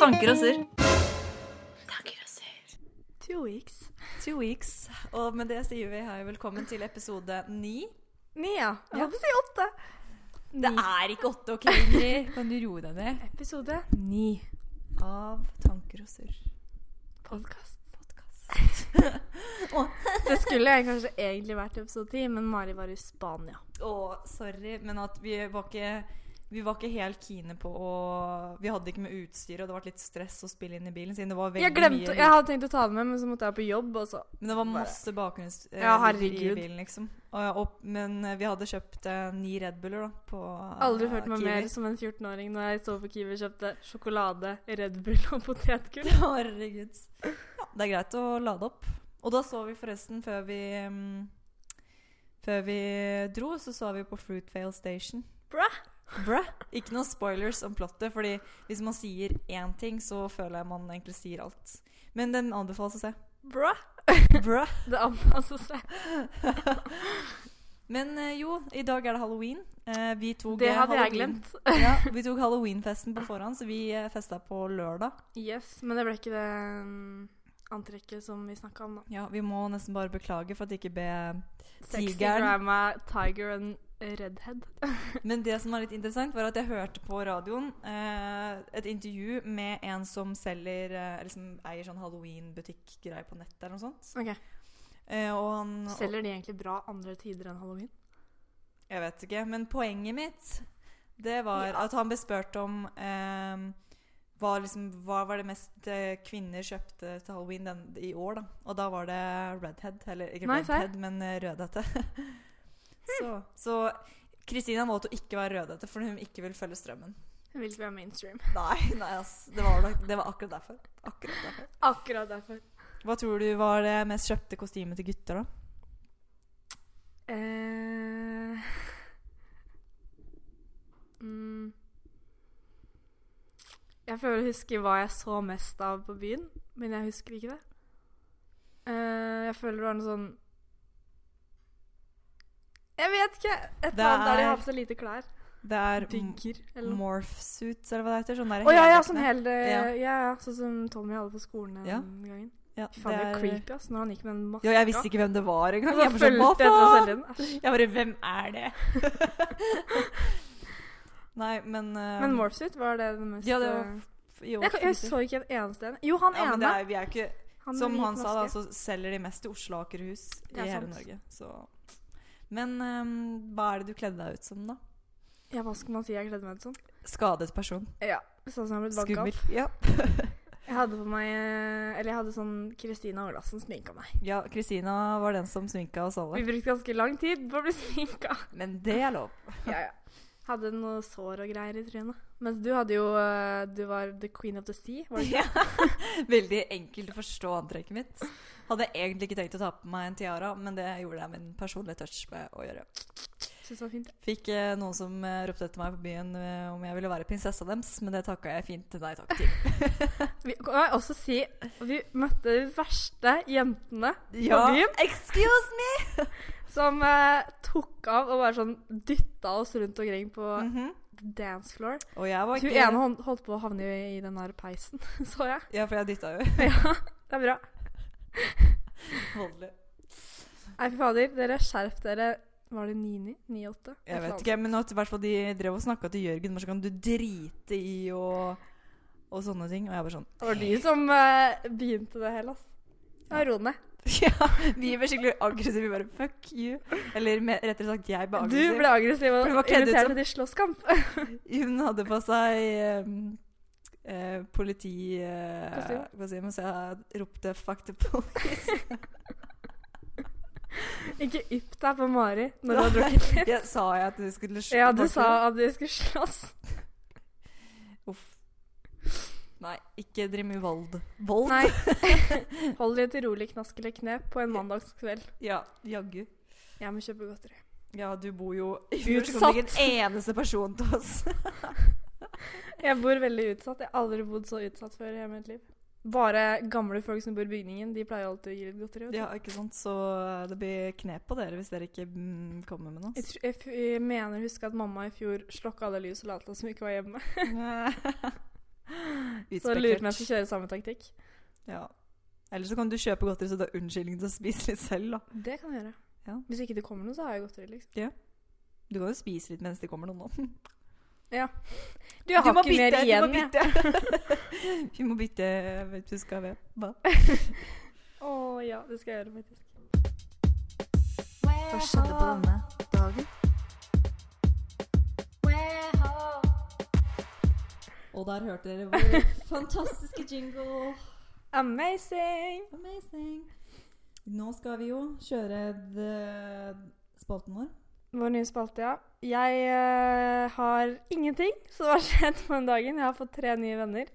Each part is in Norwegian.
Tanker og surr. Tanker og surr. Two weeks. Two weeks. Og med det sier vi hei og velkommen til episode ni. Ni, ja. Jeg Ja. holdt på å si åtte. Det er ikke åtte, OK, Ingrid? Kan du roe deg ned? Episode Ni av Tanker og surr. podkast. Podkast. Det skulle jeg kanskje egentlig vært i episode ti, men Mari var i Spania. Og sorry, men at vi var ikke vi var ikke helt kine på å Vi hadde ikke med utstyr, og det var litt stress å spille inn i bilen. Siden det var veldig Jeg glemte, mye jeg hadde tenkt å ta det med, men så måtte jeg på jobb, og så Men det var masse bakgrunns eh, Ja, lyder i herregud. bilen, liksom. Og, og, men eh, vi hadde kjøpt eh, ni Red Buller da, på eh, Aldri følt meg Kiwi. mer som en 14-åring når jeg så på Kiwi og kjøpte sjokolade, Red Bull og potetgull. Herregud. Ja, det er greit å lade opp. Og da så vi forresten, før vi mm, Før vi dro, så så vi på Fruitvale Station. Bra. Bra. Ikke noen spoilers om plottet, fordi hvis man sier én ting, så føler jeg man egentlig sier alt. Men den anbefales å se. Bra! Bra. Det anpasser seg. Men eh, jo, i dag er det halloween. Eh, vi tok Det eh, hadde jeg halloween- glemt. Ja, vi tok halloweenfesten på forhånd, så vi eh, festa på lørdag. Yes, men det ble ikke det mm, antrekket som vi snakka om, da. Ja, Vi må nesten bare beklage for at ikke be Sexy Tigeren. grandma, tiger and redhead. Men det som er litt interessant, var at jeg hørte på radioen eh, et intervju med en som selger eh, eller som eier sånn halloween-butikk-greier på nettet eller noe sånt. Ok. Eh, og han Selger de egentlig bra andre tider enn halloween? Jeg vet ikke. Men poenget mitt, det var Ja. at han ble spurt om eh, hva, liksom, hva var det mest eh, kvinner kjøpte til halloween den, i år, da? Og da var det redhead. Eller ikke Nei, se. redhead, men eh, rødhette. så så Kristina valgte å ikke være rødhette fordi hun ikke vil følge strømmen. Hun vil ikke være mainstream. Nei, nei ass. Det var, nok- det var akkurat, derfor. akkurat derfor. Akkurat derfor. Hva tror du var det mest kjøpte kostymet til gutter, da? Eh... Mm. Jeg føler å huske hva jeg så mest av på byen, men jeg husker ikke det. Eh, jeg føler det var noe sånn Jeg vet ikke! Et Det eller annet der de er- har på seg lite klær. Det er Digger, m- eller noe. morph suits, eller hva det heter. Sånn der Å ja, ja, sånn heldekkende. hel ja. Ja. ja, ja, sånn som Tommy hadde på skolen den Ja. gangen. Ja, Fy Faen, det er det er- creepy, ass, når han gikk med en maske. Jo, jeg visste ikke hvem det var engang. Jeg var sånn, fulgte hva etter å faen? selge den. Æsj. Jeg bare Hvem er det? Nei, men eh, Men morphsuit, var det det mest Ja, det eh, var f- i år. jeg, kan- jeg definitivt. så ikke en eneste en. Jo, han ja, men det ene. er, vi er ikke, han med Som hvit han sa, da, altså. maske. så selger de mest i Oslo og Akerhus i Det er hele sant. Norge. Så. Men eh, hva er det du kledde deg ut som, da? Ja, hva skal man si? Jeg kledde meg ut sånn. Skadet person. Ja, sånn som jeg har blitt banka Skummel. opp. Ja. Jeg hadde på meg eh, Eller jeg hadde sånn Kristina Olassen sminka meg. Ja, Kristina var den som sminka oss Vi alle. brukte ganske lang tid på å bli sminka. Men det er lov. Ja, ja. Hadde noe sår og greier i trynet. Mens du hadde jo eh, Du var the queen of the sea. Var det ikke? Ja. Veldig enkelt å forstå antrekket mitt. Hadde jeg egentlig ikke tenkt å ta på meg en tiara, men det gjorde jeg med en personlig touch med å gjøre. Synes det var fint. Fikk eh, noen som eh, ropte etter meg på byen eh, om jeg ville være prinsessa deres, men det takka jeg fint nei takk til. Vi kan jeg også si vi møtte de verste jentene Ja, på byen. excuse me! Som eh, tok av og bare sånn dytta oss rundt omkring på dance floor. Mhm. Og jeg var Hun ikke ene hånd- holdt på å havne i, i den der peisen, så jeg. Ja, for jeg dytta jo. Ja, det er bra. Voldelig. Nei, fy fader, dere skjerp dere. Var det 9-9? 9-8? Jeg vet ikke, men at i hvert fall de drev og snakka til Jørgen, men så kan du drite i og, og sånne ting. Og jeg var sånn Det var de som eh, begynte det hele, ass. Ja, ro ned. Ja, vi ble skikkelig aggressive. Vi bare fuck you. Eller mer- rettere sagt, jeg ble Du aggressiv. ble aggressiv For du og var kledd ut inviterte som- til slåsskamp. Hun hadde på seg um, eh, politi... eh, Kostyme. hva sier man? Så jeg ropte 'fuck the police'. Ikke ypp deg på Mari når du har drukket litt. Jeg sa jeg at du skulle slå Ja, du sa at vi skulle slåss. Uff. Nei, ikke driv med vold. Vold? Nei. Hold deg til rolig knask eller knep på en mandagskveld. Ja, jaggu. Jeg må kjøpe godteri. Ja, du bor jo Utsatt! Du ikke en eneste person til oss. Jeg bor veldig utsatt. Jeg har aldri bodd så utsatt før i hele mitt liv. Bare gamle folk som bor i bygningen, de pleier alltid å gi litt godteri. vet du. Ja, ikke sant? Så eh, det blir knep på dere hvis dere ikke mm, kommer med noe. Jeg, tr jeg, f jeg mener å huske at mamma i fjor slokka alle lys og lot som ikke var hjemme. Så Utspekulert. lurer på om jeg skal kjøre samme taktikk. Ja. Eller så kan du kjøpe godteri, så du har unnskyldning til å spise litt selv, da. Det kan jeg gjøre. Ja. Hvis ikke det kommer noe, så har jeg godteri, liksom. Du kan jo spise litt mens det kommer noen nå. Du, jeg har må ikke mer bytte, igjen, du må jeg. bytte. Vi må bytte jeg vet ikke, husker jeg hva. Hva? Å ja, det skal jeg gjøre, faktisk. Hva skjedde på denne dagen? Og der hørte dere vår fantastiske jingle. Amazing! Amazing. Nå skal vi jo kjøre the spalten vår. Vår nye spalte, ja. Jeg eh, har ingenting som har skjedd på den dagen. Jeg har fått tre nye venner.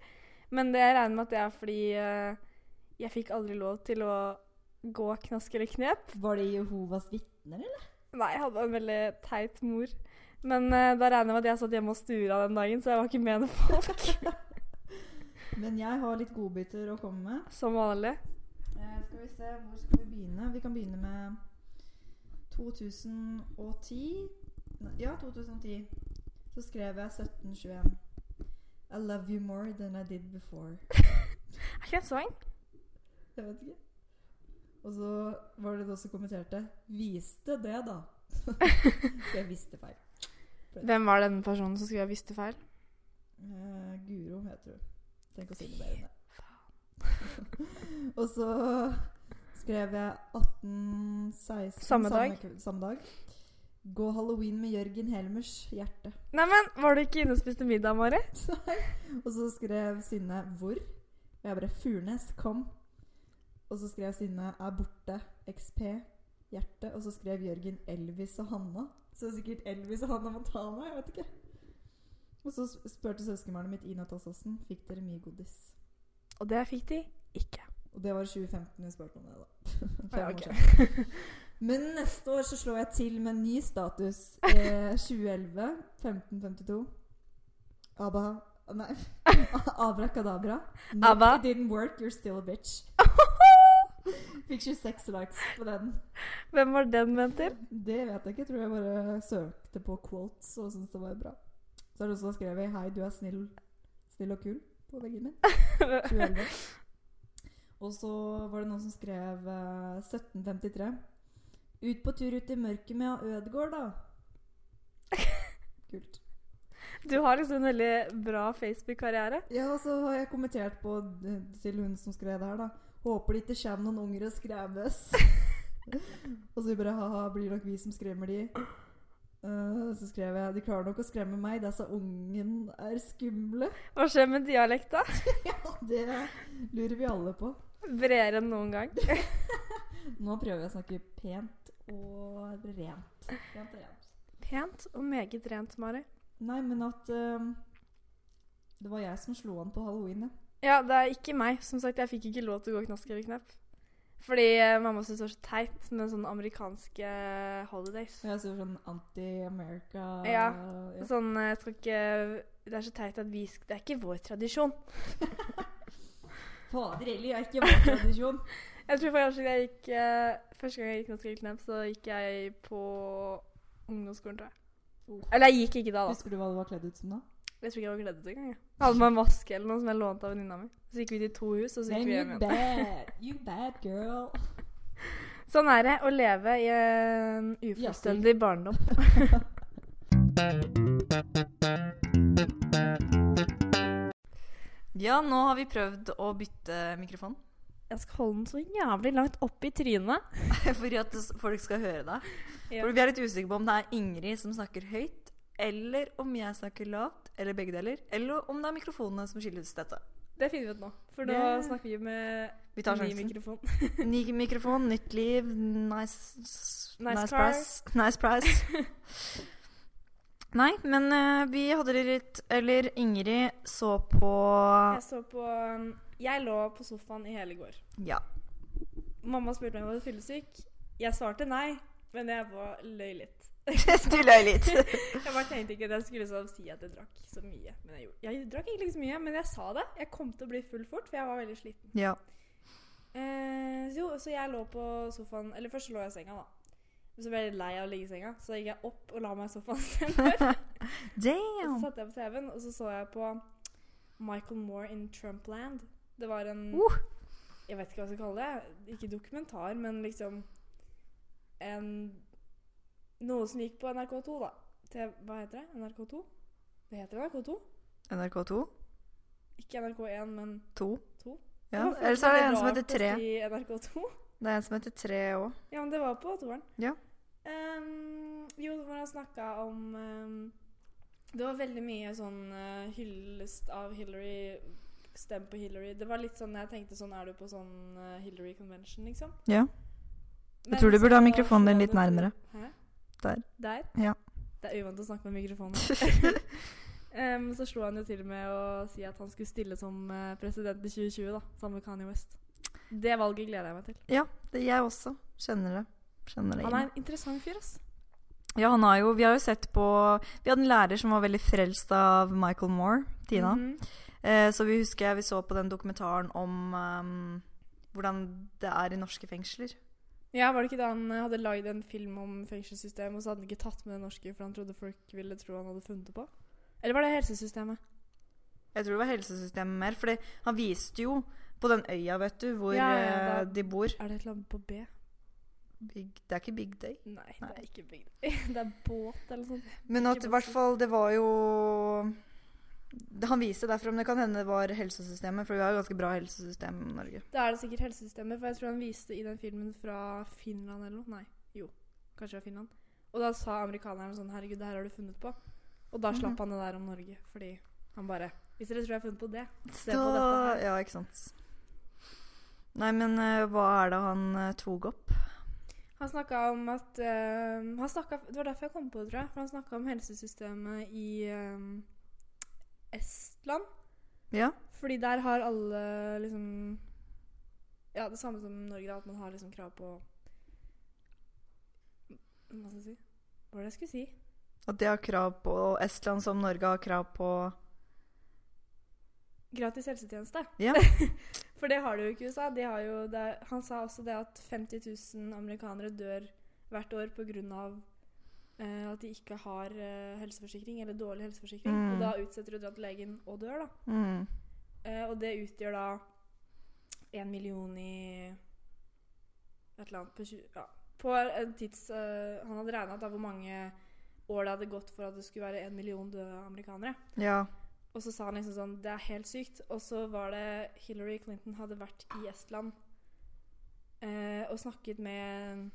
Men det jeg regner med at det er fordi eh, jeg fikk aldri lov til å gå knask eller knep. Var det Jehovas vitner, eller? Nei, jeg hadde en veldig teit mor. Men eh, da regner jeg med at jeg satt hjemme og stura den dagen, så jeg var ikke med noen folk. Men jeg har litt godbiter å komme med. Som vanlig. Eh, skal vi se, hvor skal vi begynne? Vi kan begynne med 2010. Nei, Ja, 2010. Så skrev jeg 1721. I love you more than I did before. Er ikke det en sang? Jeg vet ikke. Og så var det noen som kommenterte. Viste det, da. Så jeg visste feil. Hvem var den personen som skulle ha visst det feil? Eh, Guro heter hun. Tenk å si det bedre enn det. Og så skrev jeg 1816 Samme dag. kveld- samme dag. Gå halloween med Jørgen Helmers hjerte. Neimen, var du ikke inne og spiste middag, Mari? Og så skrev Synne 'Hvor?' Og jeg bare 'Furnes, kom'. Og så skrev Synne 'Er borte'. XP. Hjerte. Og så skrev Jørgen 'Elvis og Hanna'. Så det er sikkert Elvis og Hanna Montana. Jeg vet ikke. Og så sp- spurte søskenbarnet mitt Ina Tassåsen fikk dere mye godis. Og det fikk de ikke. Og det var i 2015 vi spurte om det, da. Fem Ja, år ok. siden. Men neste år så slår jeg til med en ny status. Eh, 2011. 1552. Abba Nei. Abrakadabra. Not Abba. It didn't work, you're still a bitch. Fikk 26 likes på den. Hvem var den ment til? Det vet jeg ikke. Jeg tror jeg bare søkte på quotes og syntes det var bra. Så er det noen som har skrevet 'Hei, du er snill, snill og kul' på veggen min. 2011. Og så var det noen som skrev eh, 1753. Ut på tur ut i mørket med Ødegård, da. Kult. Du har liksom en veldig bra Facebook-karriere. Ja, og så har jeg kommentert på d- til hun som skrev det her, da. Håper det ikke kommer noen unger og skreves. og så bare ha-ha, blir nok vi som skremmer de. Eh, så skrev jeg De klarer nok å skremme meg, disse ungen er skumle. Hva skjer med dialekta? Ja, det lurer vi alle på. Bredere enn noen gang. Nå prøver jeg å snakke pent og rent. Pent og rent. Pent og meget rent, Mari. Nei, men at eh, Det var jeg som slo an på halloween, ja. Ja, det er ikke meg. Som sagt, jeg fikk ikke lov til å gå knask eller knepp. Fordi eh, mamma syntes det var så teit med sånne amerikanske eh, holidays. Jeg ser sånn anti-America Ja. ja. Sånn, eh, jeg skal ikke Det er så teit at vi sk- Det er ikke vår tradisjon. Fader heller, jeg er ikke vant tradisjon. Jeg tror faktisk jeg gikk eh, Første gang jeg gikk knask eller knepp, så gikk jeg på ungdomsskolen, tror jeg. Oh. Eller jeg gikk ikke da, da. Husker du hva du var kledd ut som da? Jeg tror ikke jeg var kledd ut engang. jeg. Jeg hadde meg en maske eller noe som jeg lånte av venninna mi. Så gikk vi til to hus, og så gikk vi hjem you igjen. bad. You bad girl. Sånn er det å leve i en ufullstendig barndom. Ja, nå har vi prøvd å bytte mikrofon. Jeg skal holde den så jævlig langt oppe i trynet. For at folk skal høre deg. Ja. For vi er litt usikre på om det er Ingrid som snakker høyt, eller om jeg snakker lavt, eller begge deler. Eller om det er mikrofonene som skilles dette. Det finner vi ut nå, for nå Yeah. snakker vi med Vi tar ny sjansen. mikrofon. Ny mikrofon, nytt liv, nice, Nice nice, car. price. Nice price. Nei, men eh, vi hadde det litt Eller Ingrid så på Jeg så på um, Jeg lå på sofaen i hele går. Ja. Mamma spurte meg om jeg var fyllesyk. Jeg svarte nei, men jeg var løy litt. du løy litt. Jeg bare tenkte ikke at jeg skulle sånn si at jeg drakk så mye. Men jeg gjorde Jeg drakk egentlig ikke så mye, men jeg sa det. Jeg kom til å bli full fort, for jeg var veldig sliten. Ja. Eh, så jo, så jeg lå på sofaen Eller først så lå jeg i senga, da. Men så ble jeg litt lei av å ligge i senga, så da gikk jeg opp og la meg i sofaen. Damn. Så satte jeg på TV-en, og så så jeg på Michael Moore in Trumpland. Det var en Uh! Jeg vet ikke hva jeg skal kalle det. Ikke dokumentar, men liksom en Noe som gikk på NRK2, da. Til, hva heter det? NRK2? Det heter NRK2? NRK2? Ikke NRK1, men 2? To? Ja. Det var Eller så er det en som rart heter 3. å si NRK2. Det er en som heter 3 òg. Ja, men det var på toeren. Ja. Ehm, jo, hvor han snakka om ehm, Det var veldig mye sånn eh, hyllest av Hillary. Stem på Hillary. Det var litt sånn jeg tenkte sånn Er du på sånn eh, Hillary convention, liksom? Ja. Men tror du så burde ha var mikrofonen din det- litt nærmere. Hæ? Der. Der? Ja. Det er uvant å snakke med mikrofonen. Ehm, så slo han jo til med å si at han skulle stille som eh, president i 2020, da. Sammen med Kanye West. Det valget gleder jeg meg til. Ja, det jeg også. Kjenner det. Kjenner det Han er inn. en interessant fyr, ass. Ja, han har jo, vi har jo sett på Vi hadde en lærer som var veldig frelst av Michael Moore, Tina. Mhm. eh, så vi husker jeg vi så på den dokumentaren om ehm, hvordan det er i norske fengsler. Ja, var det ikke da han eh, hadde lagd en film om fengselssystemet, og så hadde han ikke tatt med det norske, for han trodde folk ville tro han hadde funnet det på? Eller var det helsesystemet? Jeg tror det var helsesystemet mer, for han viste jo på den øya, vet du, hvor Ja, ja, eh, det de bor. Er det et eller annet på B? Big, det er ikke Big Day. Nei, det Nei. er ikke bygd. Det er båt eller noe sånt. Men at Ikke i bare hvert fall, det var jo det- Han viste derfra, men det kan hende det var helsesystemet, for vi har jo ganske bra helsesystem i Norge. Da er det sikkert helsesystemet, for jeg tror han viste i den filmen fra Finland eller noe. Nei, jo, kanskje fra Finland. Og da sa amerikaneren sånn Herregud, det her har du funnet på. Og da slapp han det der om Norge, fordi han bare Hvis dere tror jeg har funnet på det, se på dette Da- her. Ja, ikke sant. Nei, men eh, hva er det han eh, tog opp? Han snakka om at ehm, han snakket, Det var derfor jeg kom på det, tror jeg. For han snakka om helsesystemet i ehm, Estland. Ja, Fordi der har alle liksom Ja, det samme som Norge, da, at man har liksom krav på Hva skal jeg si? Hva var det jeg skulle si? At de har krav på og Estland som Norge har krav på Gratis helsetjeneste. Ja. For det har de jo ikke i USA. De har jo det, han sa også det at 50 000 amerikanere dør hvert år pga. Uh, at de ikke har eh, helseforsikring, eller dårlig helseforsikring. Mm. Og da utsetter de å dra til legen og dør, da. mm. Eh, og det utgjør da én million i et eller annet på, tju- ja, på en tids eh, Han hadde regna ut da hvor mange år det hadde gått for at det skulle være én million døde amerikanere. Ja. Og så sa han liksom sånn Det er helt sykt. Og så var det Hillary Clinton hadde vært i Estland eh, og snakket med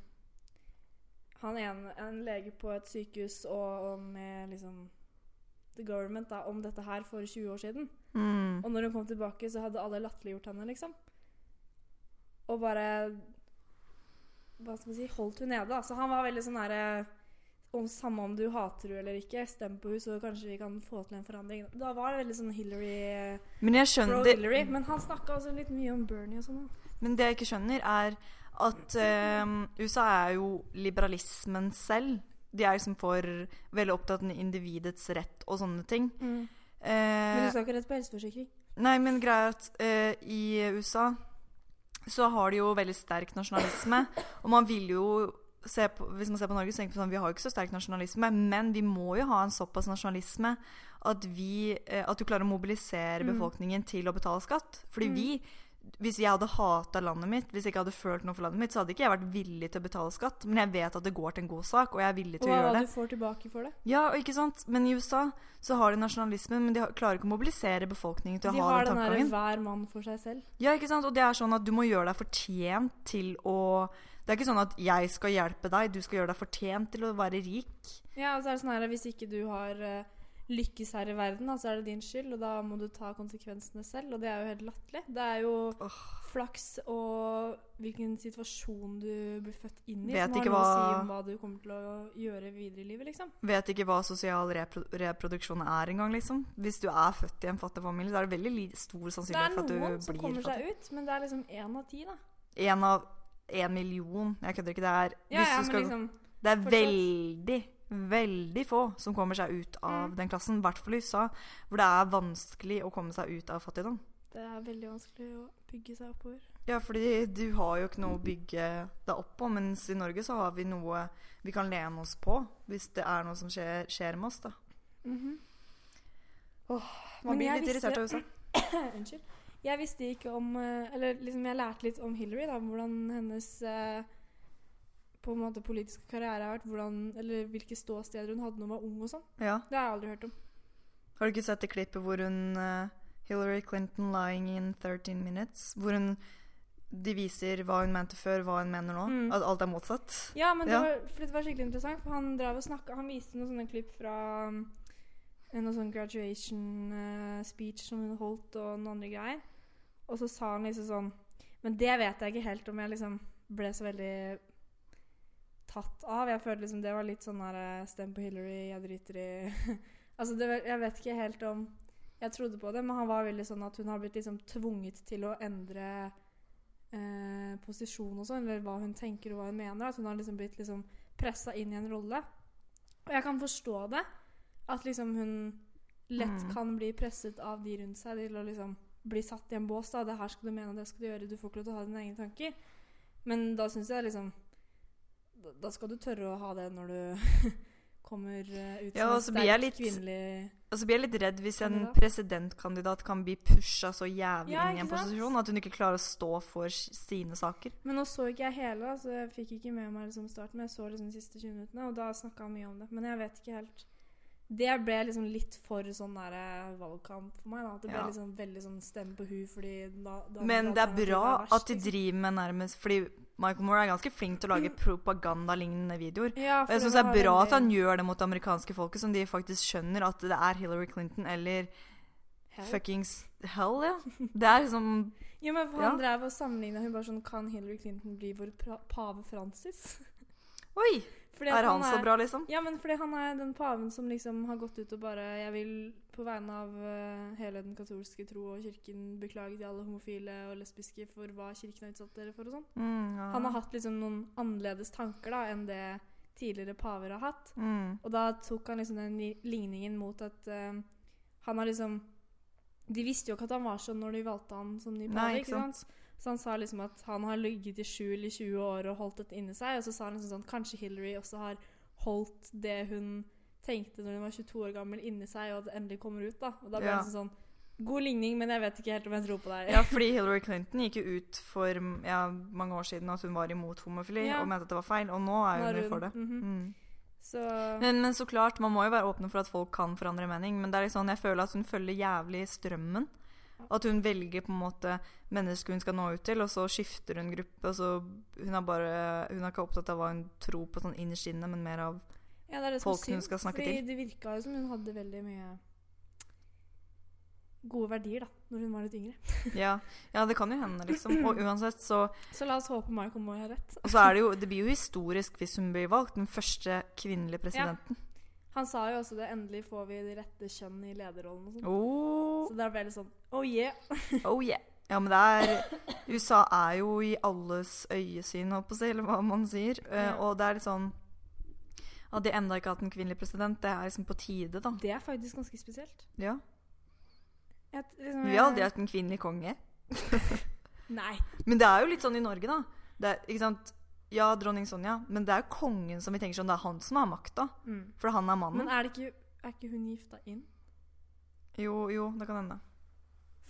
han en, en lege på et sykehus og, og med liksom the government da, om dette her for 20 år siden. Mm. Og når hun kom tilbake, så hadde alle latterliggjort henne, liksom. Og bare Hva skal man si Holdt hun nede. da. Så han var veldig sånn herre om, Samme om du hater henne eller ikke, stem på henne, så kanskje vi kan få til en forandring. Da var det veldig sånn Hillary Men jeg Pro skjønner det, Hillary. Men han snakka også litt mye om Bernie og sånn. da. Men det jeg ikke skjønner, er at eh, USA er jo liberalismen selv. De er liksom for veldig opptatt av individets rett og sånne ting. Eh, Men du skal ikke rett på helseforsikring. Nei, men greia er at eh, i USA så har de jo veldig sterk nasjonalisme. Og man vil jo se på, Hvis man ser på Norge, så tenker man sånn, vi har jo ikke så sterk nasjonalisme, men vi må jo ha en såpass nasjonalisme at, vi, eh, at du klarer å mobilisere Mm. befolkningen til å betale skatt. Fordi vi hvis jeg hadde hata landet mitt, hvis jeg ikke hadde følt noe for landet mitt, så hadde ikke jeg vært villig til å betale skatt. Men jeg vet at det går til en god sak, og jeg er villig Og til å hva gjøre hva det. du får tilbake for det. Ja, og ikke sant? Men i USA så har de nasjonalisme, men de har, klarer ikke å mobilisere befolkningen til De å ha har den den derre tankegangen. 'hver mann for seg selv'. Ja, ikke sant? Og det er sånn at du må gjøre deg fortjent til å Det er ikke sånn at jeg skal hjelpe deg, du skal gjøre deg fortjent til å være rik. Ja, og så er det sånn her Hvis ikke du har eh, lykkes her i verden, da, så er det din skyld, og da må du ta konsekvensene selv. Og det er jo helt latterlig. Det er jo flaks og hvilken situasjon du blir født inn i, Vet som har ikke noe å hva- si om hva du kommer til å gjøre videre i livet, liksom. Vet ikke hva sosial repro reproduksjon er engang, liksom. Hvis du er født i en fattig familie, så er det veldig li stor Det er sannsynlighet for at du blir noen fattig. som kommer seg ut, men det er liksom én av ti, da. En av en million. Jeg kødder ikke. Det er, Ja, hvis ja, du men skal, liksom det er fortsatt. veldig, veldig få som kommer seg ut av Mm. den klassen. I hvert fall i USA, hvor det er vanskelig å komme seg ut av fattigdom. Det er veldig vanskelig å bygge seg oppover. Ja, fordi du har jo ikke noe å bygge deg opp på, mens i Norge så har vi noe vi kan lene oss på hvis det er noe som skjer, skjer med oss, da. Mhm. Åh, Man Men blir jeg litt irritert av USA. Unnskyld. Jeg visste ikke om eh, Eller liksom jeg lærte litt om Hillary, da. Hvordan hennes eh, på en måte politiske karriere har vært. Hvordan, eller hvilke ståsteder hun hadde da hun var ung og sånn. Ja. Det har jeg aldri hørt om. Har du ikke sett det klippet hvor hun eh, Hillary Clinton lying in 13 minutes? Hvor hun de viser hva hun mente før, hva hun mener nå. Mm. At alt er motsatt. Ja, men det Ja. var, for det var skikkelig interessant. For han drev og snakket, han viste noen sånne klipp fra um, noen sånn graduation eh, speech som hun holdt, og noen andre greier. Og så sa han liksom sånn Men det vet jeg ikke helt om jeg liksom ble så veldig tatt av. Jeg følte liksom det var litt sånn der eh, Stem på Hillary, jeg driter i Altså, det, var- jeg vet ikke helt om jeg trodde på det, men han var veldig sånn at hun har blitt liksom tvunget til å endre eh, posisjon og sånn, eller hva hun tenker og hva hun mener. At hun har liksom blitt liksom pressa inn i en rolle. Og jeg kan forstå det. At liksom hun lett Mm. kan bli presset av de rundt seg til å liksom bli satt i en bås. da, 'Det her skal du mene, det skal du gjøre, du får ikke lov til å ha dine egne tanker'. Men da syns jeg liksom da- Da skal du tørre å ha det når du kommer eh, ut Ja, og så som blir jeg en litt- sterk kvinnelig Og så blir jeg litt redd hvis en Kandidat. presidentkandidat kan bli pusha så jævlig Ja, inn i en ikke sant? posisjon at hun ikke klarer å stå for s- sine saker. Men nå så ikke jeg hele, da, så jeg fikk ikke med meg liksom starten. Men jeg så liksom de siste 20 minuttene, og da snakka han mye om det. Men jeg vet ikke helt Det ble liksom litt for sånn der eh, valgkamp for meg. da, At det ble Ja. liksom veldig sånn stemme på hun, fordi da, da Men det er alternativet bra verst, at de liksom. driver med nærmest Fordi Michael Moore er ganske flink til å lage propagandalignende videoer. ja, Og jeg syns det er bra at han gjør det mot det amerikanske folket, som de faktisk skjønner at det er Hillary Clinton eller Fuck. fuckings hell, ja. Det er liksom Jo, men for Ja. Han drev og sammenligna hun bare sånn Kan Hillary Clinton bli vår pra pave Francis? Oi! Fordi at Er han så bra, liksom? Ja, men fordi han er den paven som liksom har gått ut og bare Jeg vil på vegne av eh, hele den katolske tro og kirken beklage til alle homofile og lesbiske for hva kirken har utsatt dere for og sånn. Mm, ja. Han har hatt liksom noen annerledes tanker da enn det tidligere paver har hatt. mm. Og da tok han liksom den li- ligningen mot at eh, han har liksom De visste jo ikke at han var sånn når de valgte han som Nei, ny pave. ikke ikke sant? Så han sa liksom at han har ligget i skjul i 20 år og holdt dette inni seg. Og så sa han liksom sånn kanskje Hillary også har holdt det hun tenkte når hun var 22 år gammel, inni seg, og at det endelig kommer ut. da. Og da ble Ja. han sånn sånn God ligning, men jeg vet ikke helt om jeg tror på deg. Ja, fordi Hillary Clinton gikk jo ut for ja, mange år siden at hun var imot homofili Ja. og mente at det var feil, og nå er Når hun jo hun- for det. mhm. Mm. Så Men, men så klart, man må jo være åpne for at folk kan forandre mening, men det er litt sånn, jeg føler at hun følger jævlig strømmen. At hun velger på en måte mennesker hun skal nå ut til, og så skifter hun gruppe. og så Hun er, bare, hun er ikke opptatt av hva hun tror på sånn innerst inne, men mer av ja, det er det som er folk hun synd, skal snakke til. fordi det virka jo som hun hadde veldig mye gode verdier da, når hun var litt yngre. Ja, ja det kan jo hende, liksom. Og uansett så Så la oss håpe Michael Moore har rett. Og så er det jo Det blir jo historisk hvis hun blir valgt, den første kvinnelige presidenten. Han sa jo også det, endelig får vi det rette kjønn i lederrollen og sånn. Oh, Så da ble det sånn oh yeah. oh yeah. Ja, men det er USA er jo i alles øyesyn, holdt på å si, eller hva man sier. Eh, Ja. Og det er litt sånn At de enda ikke har hatt en kvinnelig president, det er liksom på tide, da. Det er faktisk ganske spesielt. Ja. Jeg, liksom, Vi har aldri hatt en kvinnelig konge. Nei. Men det er jo litt sånn i Norge, da. Det er, ikke sant? Ja, dronning Sonja, men det er jo kongen som vi tenker sånn, det er han som har makta. Mm. For han er mannen. Men er, det ikke, er ikke hun gifta inn? Jo, jo, det kan hende.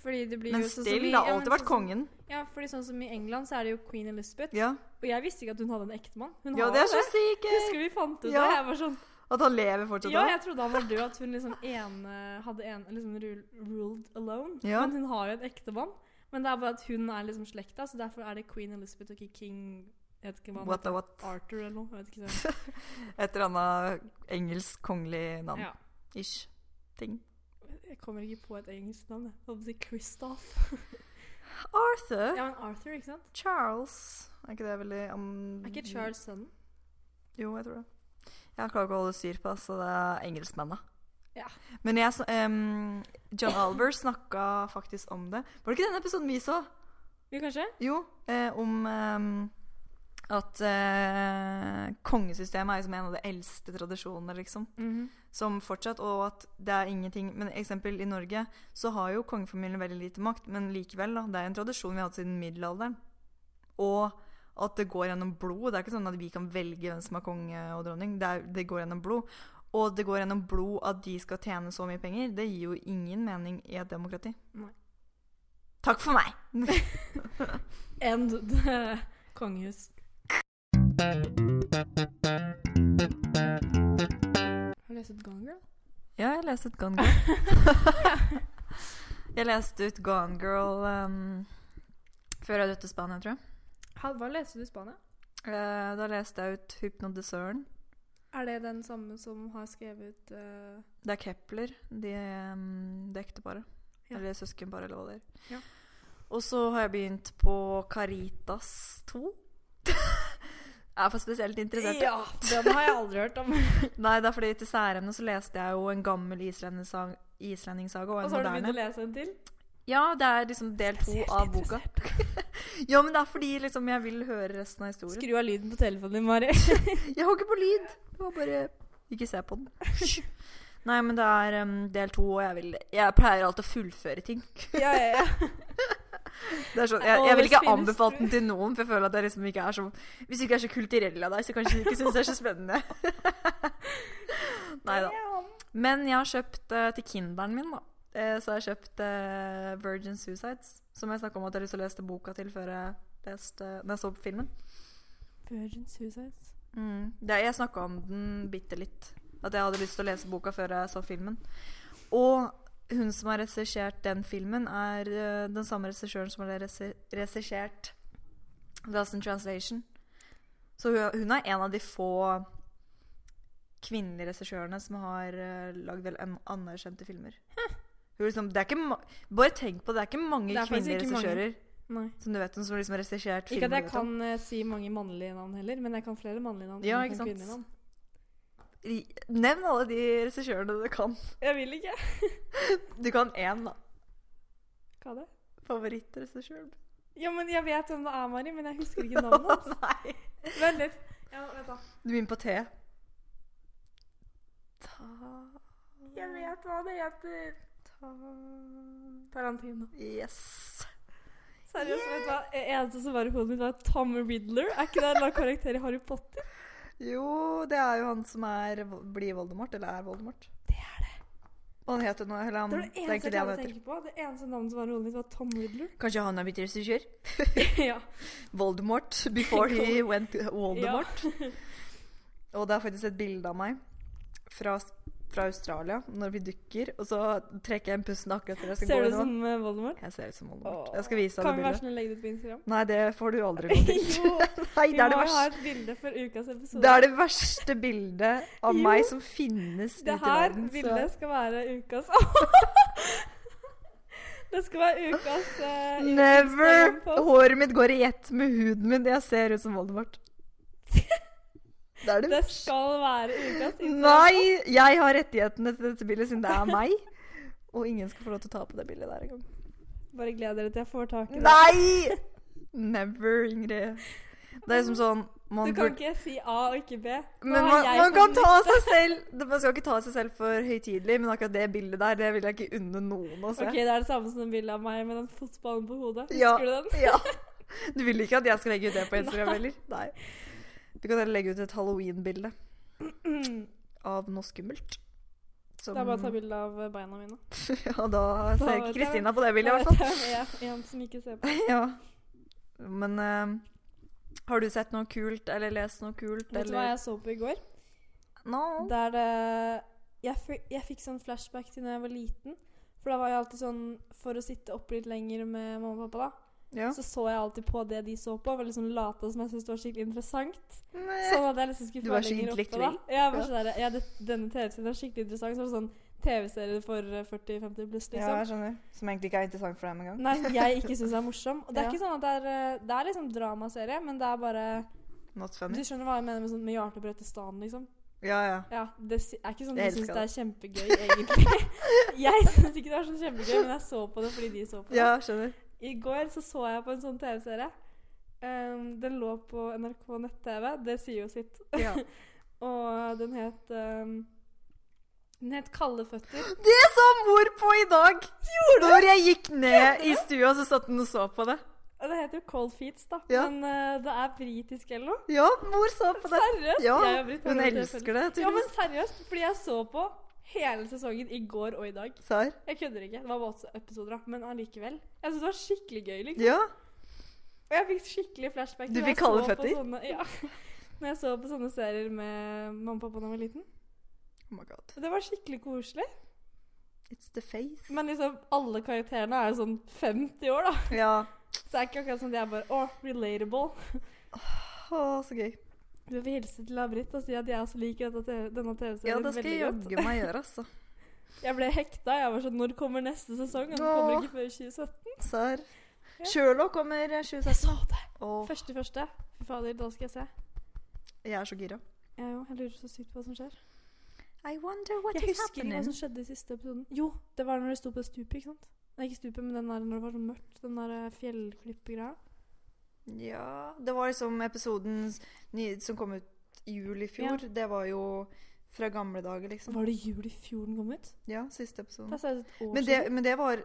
Fordi det blir Men jo sånn som still, i- det har ja, men alltid vært sånn som- kongen. Ja, fordi sånn som i England så er det jo queen Elizabeth. Ja, Og jeg visste ikke at hun hadde en ektemann. Hun ja har det jo er så sykt! Husker vi fant ut Ja. det? Jeg var sånn, At han lever fortsatt ja, da? jeg trodde han var død, at hun liksom ene, hadde en, liksom rul- ruled alone. Ja. Men hun har jo en ektemann. Men det er bare at hun er liksom slekta, så derfor er det queen Elizabeth og ikke king jeg vet ikke hva han What the heter. what? Arthur eller noe. Jeg vet ikke hva. Et eller annet engelsk kongelig navn. Ja. Ish. Ting. Jeg kommer ikke på et engelsk navn. Jeg holdt på å si Kristoff. Arthur. Ja, men Arthur, ikke sant? Charles. Er ikke det veldig um, Er ikke Charles sønnen? Jo, jeg tror det. Jeg klarer ikke å holde styr på det, så det er engelskmennene. Ja. Men jeg s- em, John Alver snakka faktisk om det. Var det ikke denne episoden vi så? Jo, kanskje? Jo, eh, om ehm, at eh, kongesystemet er liksom en av de eldste tradisjonene, liksom. som fortsatt, og at det er ingenting Men eksempel i Norge så har jo kongefamilien veldig lite makt, men likevel, da. Det er en tradisjon vi har hatt siden middelalderen. Og at det går gjennom blod. Det er ikke sånn at vi kan velge hvem som er konge og dronning. Det, er, det går gjennom blod. og det går gjennom blod at de skal tjene så mye penger, det gir jo ingen mening i et demokrati. Nei. Takk for meg! End the kongehus. Har du lest ut Gone Girl? Ja, jeg leste ut Gone Girl. jeg leste ut Gone Girl ehm, før jeg dro til Spania, tror jeg. Ha- Hva leste du i Spania? Eh, da leste jeg ut Hypnodisøren. Er det den samme som har skrevet eh, Det er Kepler, de, ehm, det ekteparet. Ja. Eller søskenparet, eller hva det er. Ja. Og så har jeg begynt på Caritas 2. jeg er for spesielt interessert. i- Ja! Den har jeg aldri hørt om. Nei, det er fordi til særemnet så leste jeg jo en gammel islendingssag- islendingsaga og Og en så har du begynt moderne. å lese en til? Ja, det er liksom del to av boka. ja, men det er fordi liksom, jeg vil høre resten av historien. Skru av lyden på telefonen din, Mari. Jeg har ikke på lyd! Det var bare Ikke se på den. Nei, men det er em, del to, og jeg, vil, jeg pleier alltid å fullføre ting. ja, ja, ja. Det er sånn, jeg, jeg vil Always ikke finish anbefale den til noen, for jeg føler at jeg liksom ikke er så Hvis du ikke er så kulturell av deg, så kanskje du ikke syns det er så spennende. Nei da. Men jeg har kjøpt eh, til kinderen min, da. Eh, så har jeg kjøpt eh, Virgin Suicides, som jeg snakka om at jeg har lyst til å lese boka til før jeg, leste, når jeg så på filmen. Virgin Suicides. Mm. Det, jeg snakka om den bitte litt. At jeg hadde lyst til å lese boka før jeg så filmen. Og hun som har regissert den filmen, er eh, den samme regissøren som har regi- regissert Lost in Translation. Så hun, hun er en av de få kvinnelige regissørene som har uh, lagd vel an- anerkjente filmer. Hun liksom, det er ikke ma Bare tenk på det, det er ikke mange Det er faktisk kvinnelige ikke mange. regissører Nei. som du vet om, som liksom har regissert filmer. sånn. Ikke at jeg vet du. kan eh, si mange mannlige navn heller, men jeg kan flere mannlige navn. Ja, enn jeg ikke kan sant? kvinnelige navn. Ri- Nevn alle de regissørene du kan. Jeg vil ikke. Du kan én, da. Hva er det? Favorittregissør. Ja, men Jeg vet hvem det er, Mari, men jeg husker ikke navnet hans. Nei. Vent litt. Ja, vent da. Du begynner på T. Ta Jeg vet hva det heter. Tarantino. Yes. Seriøst, vet du hva? Det eneste som var i hodet mitt, var Tom Riddler. Er ikke det en eller annen karakter i Harry Potter? Jo, det er jo han som er, blir Voldemort, eller er Voldemort. Det er det. Hva han heter nå? Eller han, Det var det, er det eneste ikke jeg det han klarte å heter. tenke på. Det eneste navnet som var i hodet mitt, var Tom Riddler. Kanskje han er blitt regissør? ja. Voldemort before he went to ja. Voldemort. Og det er faktisk et bilde av meg fra, fra Australia når vi dukker. Og så trekker jeg en pusten akkurat før jeg skal Ser gå du inn. ut nå. som eh, Voldemort? Jeg ser ut som Voldemort. Jeg skal vise deg det kan vi være bildet. sånn og legge det ut på Instagram? Nei, det får du aldri lov til. jo! Nei, Vi det er det må jo ha verste. et bilde for ukas episode. Det er det verste bildet av Jo. meg som finnes ute Det i her verden. så- bildet skal være ukas Det skal være ukas eh, ukens Never! Instagram-post. Håret mitt går i ett med huden min. Jeg ser ut som Voldemort. Det er det, Det verste. skal være ukas Instagram. Nei! Jeg har rettighetene til dette bildet siden det er meg. Og ingen skal få lov til å ta på det bildet der engang. Bare gled dere til jeg får tak i det. Nei! Never, Ingrid. Det er liksom sånn man Du kan burde- ikke si A og ikke B. Nå Men har man, jeg man kan kommet- ta seg selv Man skal ikke ta seg selv for høytidelig, men akkurat det bildet der, det vil jeg ikke unne noen altså. å se. Ok, Det er det samme som det bildet av meg med den fotballen på hodet. Husker Ja. du den? Ja. Du vil ikke at jeg skal legge ut det på Instagram heller? Nei. Du kan heller legge ut et halloween-bilde av noe skummelt. Som, Det er bare å ta bilde av eh, beina mine. ja, da ser vet jeg ikke Kristina på det bildet, i hvert Jeg fall. vet det er en som ikke ser på. Ja. Men eh, har du sett noe kult, eller lest noe kult, Vet du hva eller jeg så på i går? No. Der det jeg, fi- jeg fikk sånn flashback til når jeg var liten. For da var jeg alltid sånn For å sitte oppe litt lenger med mamma og pappa, da, Ja. så så jeg alltid på det de så på. Og liksom lata som jeg syntes det var skikkelig interessant. Nei. Sånn at jeg liksom Eh. skulle Du få var så lenger oppe, da. intellektuell. Jeg var sånn der, ja, det, denne TV-serien er skikkelig interessant. Så var det sånn TV-serie for eh, 40-50 pluss, Ja, liksom. jeg skjønner. Som egentlig ikke er interessant for deg med en gang. Nei, som jeg ikke syns er morsom. Og det er Ja. ikke sånn at det er eh, Det er liksom dramaserie, men det er bare Not Du funny. skjønner hva jeg mener med, sånn, med hjartebrett i staden, liksom? Ja, ja. Ja, det si- er ikke sånn Jeg du syns elsker det er kjempegøy, egentlig. jeg syns ikke det er så kjempegøy, men jeg så på det fordi de så på det. Ja, skjønner. I går så, så jeg på en sånn TV-serie. Um, den lå på NRK nett-TV, det sier jo sitt. Ja. Og den het um, Den het Kalde føtter. Det sa mor på i dag! Når jeg gikk ned i stua, så satt hun og så på det. Og Det heter jo Cold Feets, da. Ja. Men eh, det er britisk eller noe. Ja, mor så på det. Seriøst? Ja, Jeg og Britt har Hun hørt elsker det, Ja, men tydeligvis. seriøst, fordi jeg så på hele sesongen i går og i dag. Serr? Jeg kødder ikke. Det var bare åtte episoder, da, men allikevel. Jeg syntes det var skikkelig gøy. liksom. Ja. Og jeg fikk skikkelig flashback. Du fikk når jeg så kalde på føtter? Sånne, ja. Når jeg så på sånne serier med mamma og pappa da jeg var liten. Oh my god. Det var skikkelig koselig. It's the face. Men liksom, alle karakterene er jo sånn 50 år, da. Ja. Så det er ikke akkurat sånn at jeg bare Å, relatable. Å, så gøy. Du vil hilse til Britt og si at jeg også liker dette TV denne Ja, TV-serien det skal veldig jeg godt. jaggu meg gjøre, altså. Jeg ble hekta. Jeg var sånn Når kommer neste sesong? Og den Åh. kommer ikke før 2017. Serr. Ja. Sherlock kommer 2016. Så det. Åh, Første første. Fy fader, da skal jeg se. jeg er så gira. Jeg, jo, jeg lurer så sykt på hva som skjer. I wonder what Jeg is husker ikke hva happening. som skjedde i siste episoden. Jo, det var når det sto på det stupet, ikke sant? Nei, ikke stupet, men den der når det var så mørkt. Den der eh, fjellklippegreia. Ja, det var liksom episoden s- ny- som kom ut i jul i fjor. Det var jo fra gamle dager, liksom. Var det jul i fjor den kom ut? Ja, siste episoden. Det er seriøst et år Mm. Men det, siden. men det var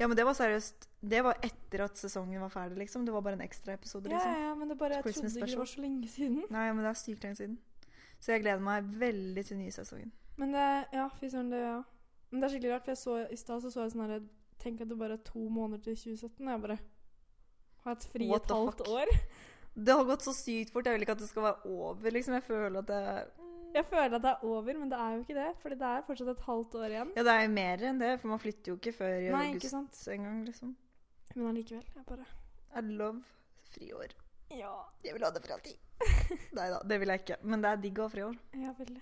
Ja, men det var seriøst Det var etter at sesongen var ferdig, liksom. Det var bare en ekstra episode, Ja, liksom. ja, ja, men det bare, jeg trodde Christmas ikke det special. var så lenge siden. Nei, men det er sykt lenge siden. Så jeg gleder meg veldig til nye sesongen. Men det, ja, fy søren, det, ja. Men det er skikkelig rart, for jeg så, i stad så så jeg sånn herre Tenk at det bare er to måneder til 2017, og jeg bare har hatt fri What et the halvt fuck? år. Det har gått så sykt fort. Jeg vil ikke at det skal være over, liksom. Jeg føler at det er Jeg føler at det er over, men det er jo ikke det. Fordi det er fortsatt et halvt år igjen. Ja, det er jo mer enn det, for man flytter jo ikke før i Nei, ikke sant. august engang, liksom. Men allikevel. Jeg bare I love friår. Ja. Jeg vil ha det for alltid. Nei da, det vil jeg ikke. Men det er digg å ha friår. Ja, veldig.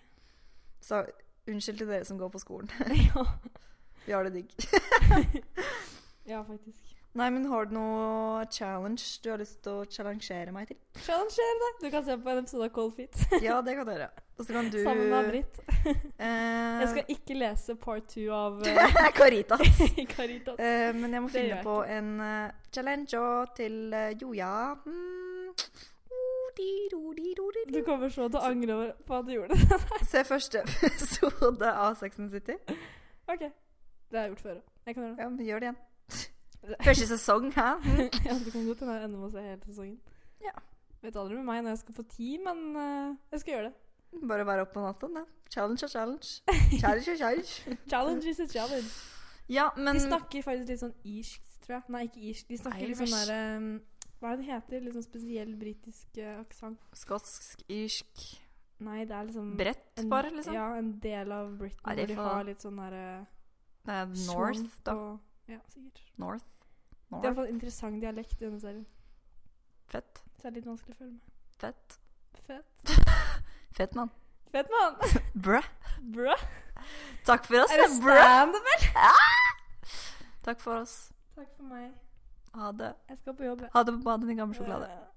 Så unnskyld til dere som går på skolen. ja. Vi har det digg. ja, faktisk. Nei, men har du noe challenge du har lyst til å challengere meg til? Challenger deg! Du kan se på en episode av Cold Feet Ja, det kan dere. Og så kan du sammen med Britt. Eh, Jeg skal ikke lese part two av eh, Caritas. Caritas. Eh, men jeg må Det gjør finne jeg på en eh, challenge til eh, Joja. Mm. O-di-do-di-do-di-do. Du kommer så til å angre over på at du gjorde det. Se første episode av Sex and the City. OK. Det har jeg gjort før òg. Jeg kan gjøre det. Ja, men gjør det igjen. Første sesong, hæ? Mm. Ja, du kan godt hende jeg ender med å se hele sesongen. Ja. Vet aldri med meg når jeg skal få tid, men eh, jeg skal gjøre det. Bare være oppe på natta. da. Challenge og challenge. Challenge og challenge. Challenge is a challenge. Ja, men De snakker faktisk litt sånn irsk, tror jeg. Nei, ikke irsk. De snakker litt sånn Irish. der eh, Hva er det det heter? Litt sånn spesiell britisk uh, aksent. Skotsk, irsk Nei, det er liksom Bredt, en- bare, liksom. Ja, en del av Britain Er hvor det de for- har litt sånn derre Nei, North, da. Og, ja, sikkert. North. Det er North. iallfall interessant dialekt i denne serien. Fett. Så det er litt vanskelig å følge med. Fett. Fett. Fett, mann. Fett, mann! Brø. Brø! Takk for oss, Er det brø. standup? Takk for oss. Takk for meg. Ha det. Jeg skal på jobb. jeg. Ha det på badet, din gamle sjokolade. Eh,